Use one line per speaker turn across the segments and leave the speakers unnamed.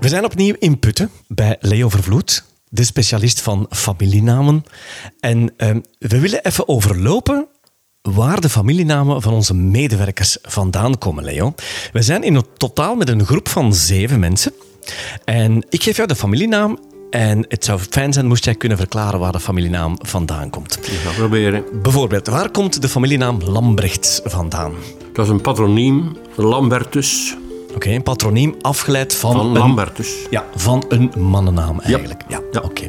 We zijn opnieuw in Putten bij Leo Vervloed, de specialist van familienamen. En eh, we willen even overlopen waar de familienamen van onze medewerkers vandaan komen, Leo. We zijn in het totaal met een groep van zeven mensen. En ik geef jou de familienaam. En het zou fijn zijn moest jij kunnen verklaren waar de familienaam vandaan komt.
Ik ga proberen.
Bijvoorbeeld, waar komt de familienaam Lambrechts vandaan?
Dat is een patroniem, Lambertus,
Oké, een patroniem afgeleid van,
van
een-
Lambertus.
Ja, van een mannennaam eigenlijk. Ja,
Ja.
oké.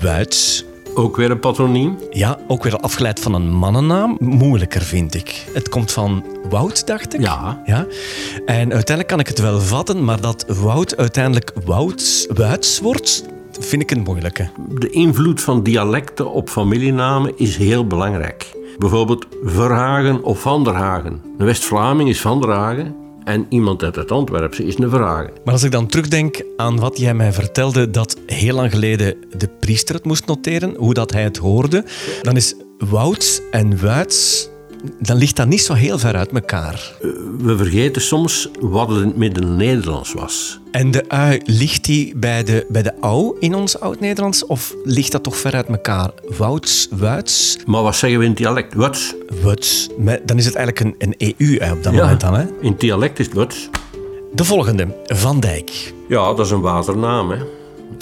Wuits.
Ook weer een patroniem.
Ja, ook weer afgeleid van een mannennaam. Moeilijker, vind ik. Het komt van Wout, dacht ik.
Ja.
ja. En uiteindelijk kan ik het wel vatten, maar dat Wout uiteindelijk Wouts, Wuits wordt, vind ik een moeilijke.
De invloed van dialecten op familienamen is heel belangrijk. Bijvoorbeeld Verhagen of Van der Hagen. Een West-Vlaming is Van der Hagen en iemand uit het Antwerpse is een Verhagen.
Maar als ik dan terugdenk aan wat jij mij vertelde, dat heel lang geleden de priester het moest noteren, hoe dat hij het hoorde, dan is Wout en Wuits, dan ligt dat niet zo heel ver uit elkaar.
We vergeten soms wat het in het Midden-Nederlands was.
En de ui, ligt die bij de, bij de au in ons Oud-Nederlands? Of ligt dat toch ver uit elkaar? Wouts, wuits,
Maar wat zeggen we in het dialect? Wuts.
wuts. Me- Dan is het eigenlijk een, een EU-ui op dat moment dan, hè?
In het dialect is het Wuts.
De volgende, Van Dijk.
Ja, dat is een waternaam, hè.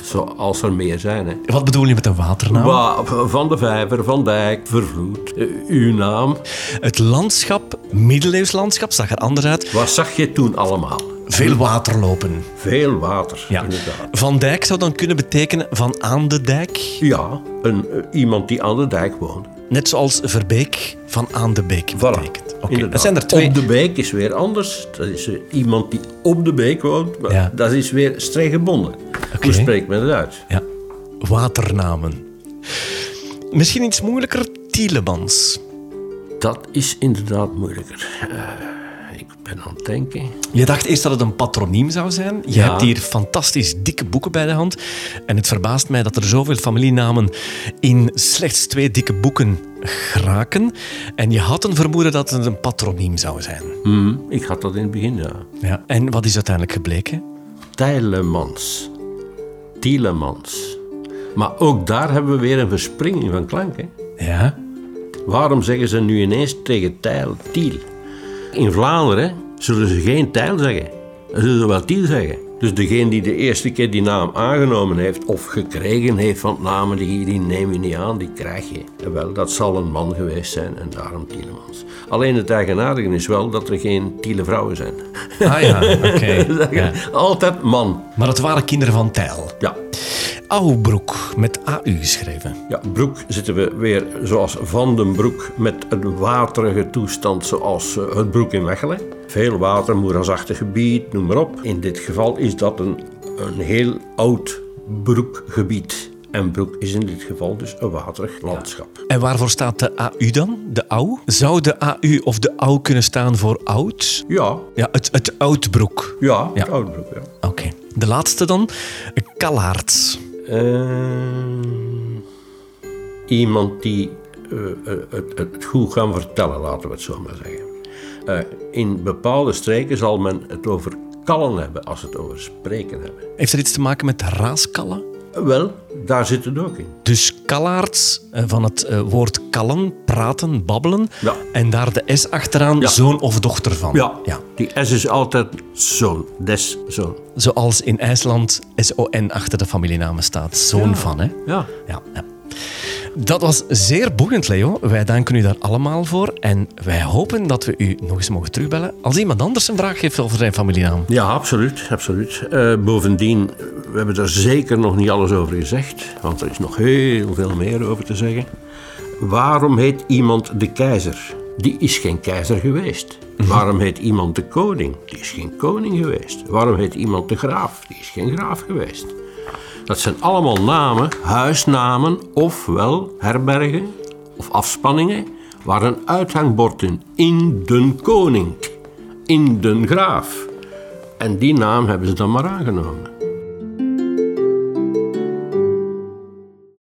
Zoals er meer zijn, hè.
Wat bedoel je met een waternaam?
Wa- van de Vijver, Van Dijk, Vervloed. Eh, uw naam.
Het landschap, middeleeuws landschap, zag er anders uit.
Wat zag je toen allemaal?
Veel waterlopen.
Veel water,
Ja.
inderdaad.
Van Dijk zou dan kunnen betekenen van aan de dijk.
Ja, een, eh, iemand die aan de dijk woont.
Net zoals Verbeek van aan de beek betekent. Oké, dat
inderdaad.
zijn er twee.
Op de beek is weer anders. Dat is eh, iemand die op de beek woont. Maar
Ja.
Dat is weer streng gebonden. Hoe spreekt men het uit?
Ja, waternamen. Misschien iets moeilijker, Tielemans.
Dat is inderdaad moeilijker. Eh, ik ben aan het denken.
Je dacht eerst dat het een patroniem zou zijn. Je hebt hier fantastisch dikke boeken bij de hand. En het verbaast mij dat er zoveel familienamen in slechts twee dikke boeken geraken. En je had een vermoeden dat het een patroniem zou zijn.
Hmm, ik had dat in het begin, ja.
Ja. En wat is uiteindelijk gebleken?
Tijlemans. Tielemans. Maar ook daar hebben we weer een verspringing van klank. Hè?
Ja.
Waarom zeggen ze nu ineens tegen tijl, tiel? In Vlaanderen zullen ze geen tijl zeggen. Dan zullen ze wel tiel zeggen. Dus degene die de eerste keer die naam aangenomen heeft of gekregen heeft van namen die, die neem je niet aan, die krijg je. En wel, dat zal een man geweest zijn en daarom Tielemans. Alleen het eigenaardige is wel dat er geen tiele vrouwen zijn.
Ah ja, oké. Ja.
Altijd man.
Maar het waren kinderen van Tijl.
Ja,
Ouwbroek, met AU geschreven.
Ja, broek zitten we weer zoals Van den Broek met een waterige toestand zoals eh, het broek in Mechelen. Veel water, moerasachtig gebied, noem maar op. In dit geval is dat een, een heel oud broekgebied. En broek is in dit geval dus een waterig landschap.
En waarvoor staat de AU dan? De AU? Zou de AU of de AU kunnen staan voor oud?
Ja,
Ja, het, het oudbroek.
ja,
Ja.
oud broek, ja.
Oké. De laatste dan. Kallaerts.
Ehm, iemand die eh, eh, het, het goed kan vertellen, laten we het zo maar zeggen. Eh, in bepaalde streken zal men het over kallen hebben als het over spreken hebben.
Heeft dat iets te maken met raaskallen?
Eh, Wel, daar zit het ook in.
Dus kallaerts, eh, van het eh, woord kallen, praten, babbelen.
Ja.
En daar de S achteraan,
Ja.
zoon of dochter van. ja.
Die S is altijd zoon, des zoon.
Zoals in IJsland SON achter de familienamen staat. Zoon van, hè?
Ja.
Ja, ja. Dat was zeer boeiend, Leo. Wij danken u daar allemaal voor. En wij hopen dat we u nog eens mogen terugbellen als iemand anders een vraag heeft over zijn familienaam.
Ja, absoluut. absoluut. Eh, bovendien, we hebben daar zeker nog niet alles over gezegd, want er is nog heel veel meer over te zeggen. Waarom heet iemand de keizer? Die is geen keizer geweest. Waarom heet iemand de koning? Die is geen koning geweest. Waarom heet iemand de graaf? Die is geen graaf geweest. Dat zijn allemaal namen, huisnamen, ofwel herbergen of afspanningen, waar een uithangbord in, in den koning, in den graaf. En die naam hebben ze dan maar aangenomen.